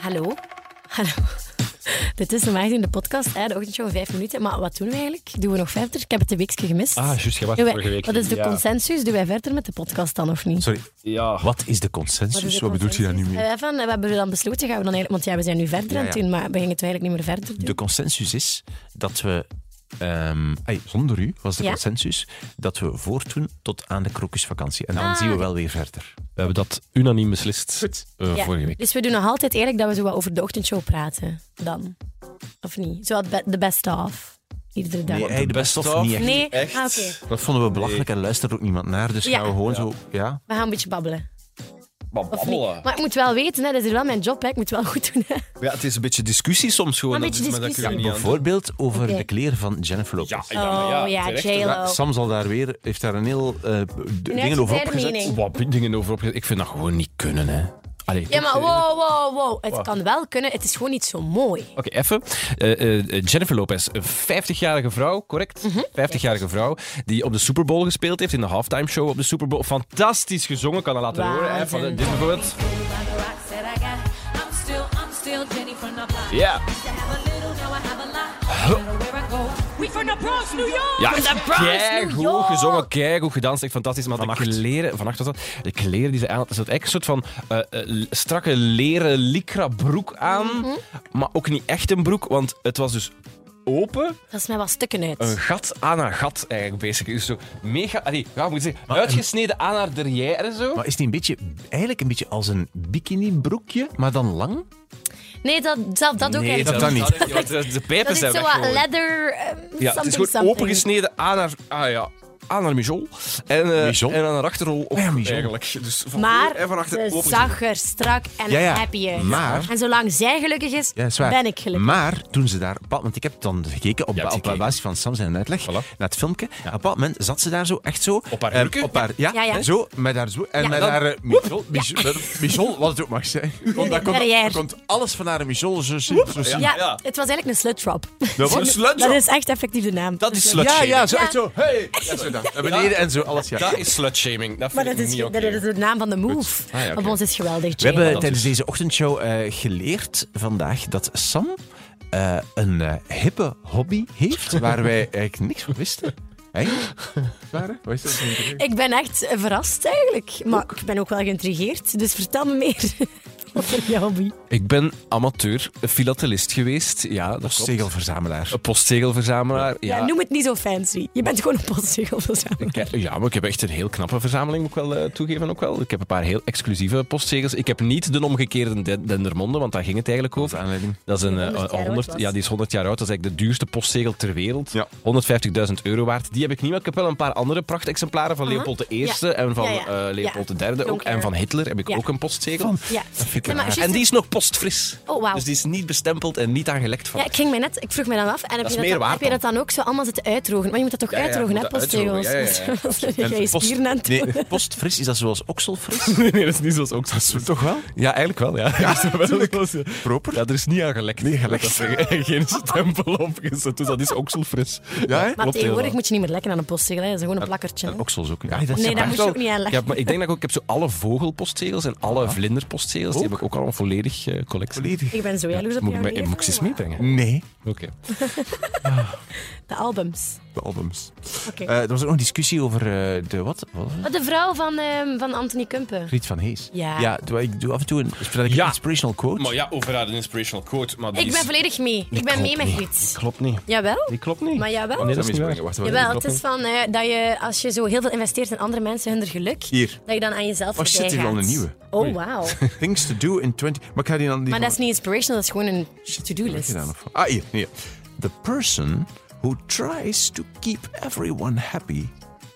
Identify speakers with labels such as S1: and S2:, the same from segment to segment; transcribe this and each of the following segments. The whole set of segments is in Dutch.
S1: Hallo. Hallo. Dit is normaal gezien de podcast, hè, de ochtendshow, vijf minuten. Maar wat doen we eigenlijk? Doen we nog verder? Ik heb het een weekje gemist.
S2: Ah, juist, jij was
S1: Doen wij-
S2: vorige week.
S1: Wat is de
S2: ja.
S1: consensus? Doen wij verder met de podcast dan of niet?
S3: Sorry,
S2: Ja.
S3: wat is de consensus? Wat,
S1: is de
S3: bedoelt je daar nu
S1: Eh,
S3: mee?
S1: wij van, eh, we hebben dan besloten, gaan we dan eigenlijk... Want ja, we zijn nu verder
S3: Ja,
S1: aan het
S3: ja.
S1: doen, maar we gingen het eigenlijk niet meer verder doen.
S3: De consensus is dat we... ehm, ai, zonder u was de
S1: Ja?
S3: consensus dat we voortdoen tot aan de krokusvakantie. En dan
S1: Ah.
S3: zien we wel weer verder.
S2: We hebben dat unaniem beslist eh,
S1: Ja.
S2: vorige week.
S1: Dus we doen nog altijd eerlijk dat we zo wat over de ochtendshow praten dan. Of niet? Zo wat be- de best of. Iedere dag.
S3: Nee,
S2: de
S3: hey, de best
S2: best
S3: of
S2: of?
S3: niet echt.
S1: Nee?
S2: echt.
S1: Ah, oké.
S3: Dat vonden we belachelijk en luisterde ook niemand naar. Dus
S1: Ja.
S3: gaan we gewoon zo... Ja?
S1: We gaan een beetje babbelen.
S2: Maar
S1: Of niet? Maar ik moet wel weten, hè, dat is wel mijn job. Hè. Ik moet wel goed doen. Hè.
S2: Ja, het is een beetje discussie soms gewoon.
S1: Een beetje
S2: dat is- maar dat
S1: discussie.
S2: kun je niet aan
S3: Bijvoorbeeld over
S1: Oké.
S3: de kleren van Jennifer Lopez.
S2: doen. Ja, ja, maar
S1: oh ja,
S2: terecht.
S1: JLo.
S3: Ja, Sam zal daar weer, heeft daar een heel eh, d- dingen over
S1: uitgebreide
S3: opgezet.
S1: mening.
S2: Wat dingen over opgezet. Ik vind dat gewoon niet kunnen, hè. Allee,
S1: Ja,
S2: toch?
S1: maar wow, wow, wow. Het kan wel kunnen. Het is gewoon niet zo mooi.
S2: Oké, even. Eh, eh, Jennifer Lopez, een 50-jarige vrouw, correct?
S1: Mhm.
S2: 50-jarige vrouw die op de Super Bowl gespeeld heeft in de halftime show op de Super Bowl. Fantastisch gezongen, kan dat laten horen. Hè, van, eh, dit bijvoorbeeld. Ja.
S4: We from the Bronx, New York.
S2: Ja,
S1: Bronx, New
S2: goed
S1: York.
S2: gezongen, keigoed gedanst, echt fantastisch. Maar de kleren, vannacht was dat, de kleren die ze aan had, ze had echt een soort van eh, eh, l- strakke leren lycra broek aan.
S1: Mhm.
S2: Maar ook niet echt een broek, want het was dus open,
S1: Dat is mij wel stukken uit.
S2: een gat aan haar gat eigenlijk, bezig. Dus zo mega, allee, ja, moet ik zeggen, uitgesneden aan haar derrière zo.
S3: Maar is die een beetje, eigenlijk een beetje als een bikinibroekje, maar dan lang?
S1: Nee, dat, zelf dat ook
S2: Nee,
S1: eigenlijk.
S3: dat niet.
S2: niet, want de- De
S1: Dat
S2: pijpen
S1: is
S2: zijn
S1: zo
S2: weg
S1: wat
S2: gewoon.
S1: leather eh, something,
S2: Ja, het is gewoon
S1: something.
S2: opengesneden aan haar, ah ja, aan haar mijol. En, eh,
S3: Mijol?
S2: en aan haar achterrol ook
S3: Ah Ja, mijol.
S2: eigenlijk. Dus van
S1: Maar
S2: voor en van achter
S1: ze
S2: opengesneden.
S1: zag er strak en
S3: Ja, ja.
S1: happy uit.
S3: Maar-
S1: En zolang zij gelukkig is,
S3: Ja, dat is waar.
S1: ben ik gelukkig.
S3: Maar toen ze daar, op bepaald moment- ik heb dan gekeken op,
S2: Je hebt
S3: op
S2: gekeken.
S3: basis van Sam zijn uitleg,
S2: Voilà.
S3: naar het filmpje. Op een bepaald moment zat ze daar zo, echt zo.
S2: Op haar
S3: eh,
S2: hurken?
S3: op haar, ja,
S1: Ja, ja.
S3: zo, met haar zo. En
S1: Ja.
S3: met
S2: Dan-
S3: haar eh, mijol, mijol- met- mijol, wat het ook mag zijn. Want daar komt,
S1: Derrière.
S3: daar komt alles van haar mijol zo zien. zo zien.
S1: Ja,
S2: Ja.
S1: het was eigenlijk een slut trap.
S2: Dat was slut
S1: Dat is echt effectief de naam.
S2: Dat is
S1: Slut-
S3: Ja,
S2: slutshaming.
S3: ja, zo
S1: Ja.
S3: echt zo. Hey, ja, zo dan. Naar beneden en zo, alles ja.
S2: Dat is slutshaming. Dat
S1: Maar
S2: vind
S1: dat is,
S2: ik niet
S1: dat
S2: oké.
S1: is de naam van de move.
S2: Ah, ja, oké.
S1: Op ons is geweldig,
S3: We
S1: Jay.
S3: hebben
S2: dat
S3: tijdens
S2: is-
S3: deze ochtendshow eh, geleerd vandaag dat Sam eh, een eh, hippe hobby heeft waar wij eigenlijk niks van wisten. Hè? Waar? Wat is dat?
S1: Ik ben echt eh, verrast eigenlijk. Maar ik ben ook wel geïntrigeerd. Dus vertel me meer over je hobby.
S2: Ik ben amateur filatelist geweest. Ja, dat klopt.
S3: Stegelverzamelaar.
S2: Een postzegelverzamelaar.
S1: Ja.
S2: Ja.
S1: noem het niet zo fancy. Je bent gewoon een postzegelverzamelaar.
S2: Ik heb- ja, maar ik heb echt een heel knappe verzameling, moet ik wel eh, toegeven ook wel. Ik heb een paar heel exclusieve postzegels. Ik heb niet de omgekeerde Den- Dendermonde, want daar ging het eigenlijk over.
S3: Aanleiding.
S2: Dat is een, eh,
S1: 100 jaar oud
S2: 100,
S1: was.
S2: ja, die is 100 jaar oud. Dat is eigenlijk de duurste postzegel ter wereld.
S3: Ja.
S2: 150.000 euro waard. Die heb ik niet, maar ik heb wel een paar andere prachtexemplaren van Leopold I
S1: Ja.
S2: en van
S1: Ja, ja.
S2: eh, Leopold
S1: Ja.
S2: III ook.
S1: Jonker.
S2: En van Hitler heb ik
S1: Ja.
S2: ook een postzegel.
S1: Ja.
S3: vind ik
S1: Nee, maar
S3: raar.
S1: juist-
S2: En die is nog postfris.
S1: Oh, wauw.
S2: Dus die is niet bestempeld en niet aangelekt van.
S1: Ja, ik ging mij net, ik vroeg mij dan af. En heb,
S2: is
S1: je, dat
S2: meer
S1: dan,
S2: waard
S1: heb je dat dan ook zo allemaal zitten uitdrogen? Maar je moet dat toch
S2: ja,
S1: uitdrogen, hè,
S2: je moet dat
S1: postzegels?
S2: uitdrogen, ja, ja, ja.
S1: Ga je
S3: post-
S1: spieren aan het doen?
S3: Nee, postfris, is dat zoals okselfris?
S2: Nee, nee, dat is niet zoals ook dat soort.
S3: Toch wel?
S2: Ja, eigenlijk wel, ja. Ja,
S3: Proper?
S2: er is niet aan gelekt. Niet gelekt. geen stempel op gezet, dus dat is okselfris.
S3: Ja, hè?
S1: Maar
S2: Klopt
S1: tegenwoordig
S2: helemaal.
S1: moet je niet meer lekken aan een postzegel. hè. Dat is gewoon een plakkertje. hè.
S3: Oksel zoeken. Ja, dat is
S1: Nee,
S3: waar.
S1: daar moet je ook niet aan
S2: Ik
S1: leggen.
S2: heb, maar ik denk dat ik ook ik heb zo alle vogelpostzegels en alle vlinderpostzegels. Die heb ik ook al een volledig eh, collectie.
S3: Volledig.
S1: Ik ben zo jaloers op
S2: Moet ik,
S1: jou.
S2: mij-
S1: Levi.
S2: moet ik ze eens meebrengen?
S3: Nee,
S2: Oké.
S1: De albums.
S3: de albums.
S1: Oké.
S3: Eh, er was ook nog een discussie over eh, de wat? wat? was het?
S1: Wat de vrouw van, ehm, van Anthony Kumpen.
S3: Griet van Hees.
S1: Ja.
S3: doe- ik doe af en toe een, vertel ik
S2: Ja.
S3: een inspirational quote.
S2: ja, over haar een inspirational quote. Maar
S1: Ik ben volledig mee. Ik ben mee met
S2: Die
S1: Griet.
S2: klopt niet.
S1: Jawel?
S2: Die klopt niet. Oh,
S1: Maar jawel.
S2: Nee, dat is niet waar.
S3: Wacht,
S1: Jawel, het is van eh, dat je als je zo heel veel investeert in andere mensen, hun er geluk,
S3: Hier.
S1: dat je dan aan jezelf
S3: Oh, shit,
S1: voorbij
S3: hier wel
S1: gaat.
S3: een nieuwe.
S1: Oh, wauw.
S3: Things to do in 20... Maar ik ga die dan... Die
S1: Maar
S3: van-
S1: dat is niet inspirational, dat is gewoon een to-do-list.
S3: gedaan, of wat? Ah, hier, hier. The person who tries to keep everyone happy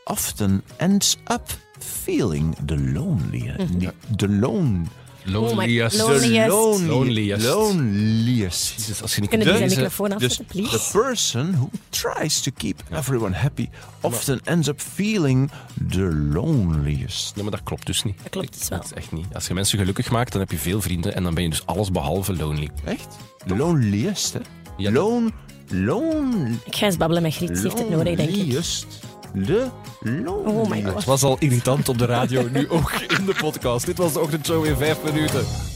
S3: often ends up feeling the lonely,
S1: Mhm.
S3: the lone,
S1: Loneliest.
S3: the
S1: Loneliest.
S3: lonely,
S2: Loneliest.
S3: loneliest.
S2: Jezus, als je niet
S1: Kunnen die zijn
S2: Deze-
S1: microfoon afzetten,
S3: Dus the
S1: please?
S3: person who tries to keep everyone happy often ends up feeling the loneliest.
S2: Ja, maar dat klopt dus niet.
S1: Dat klopt dus wel.
S2: Dat is echt niet. Als je mensen gelukkig maakt, dan heb je veel vrienden en dan ben je dus alles behalve lonely.
S3: Echt? Loneliest, hè?
S2: Ja.
S3: Lone, lone,
S1: Ik ga eens babbelen met Griet, ze heeft het nodig, denk ik.
S3: loneliest. De loneliest.
S1: God.
S2: Het was al irritant op de radio, nu ook in de podcast. Dit was de ochtendshow in vijf minuten.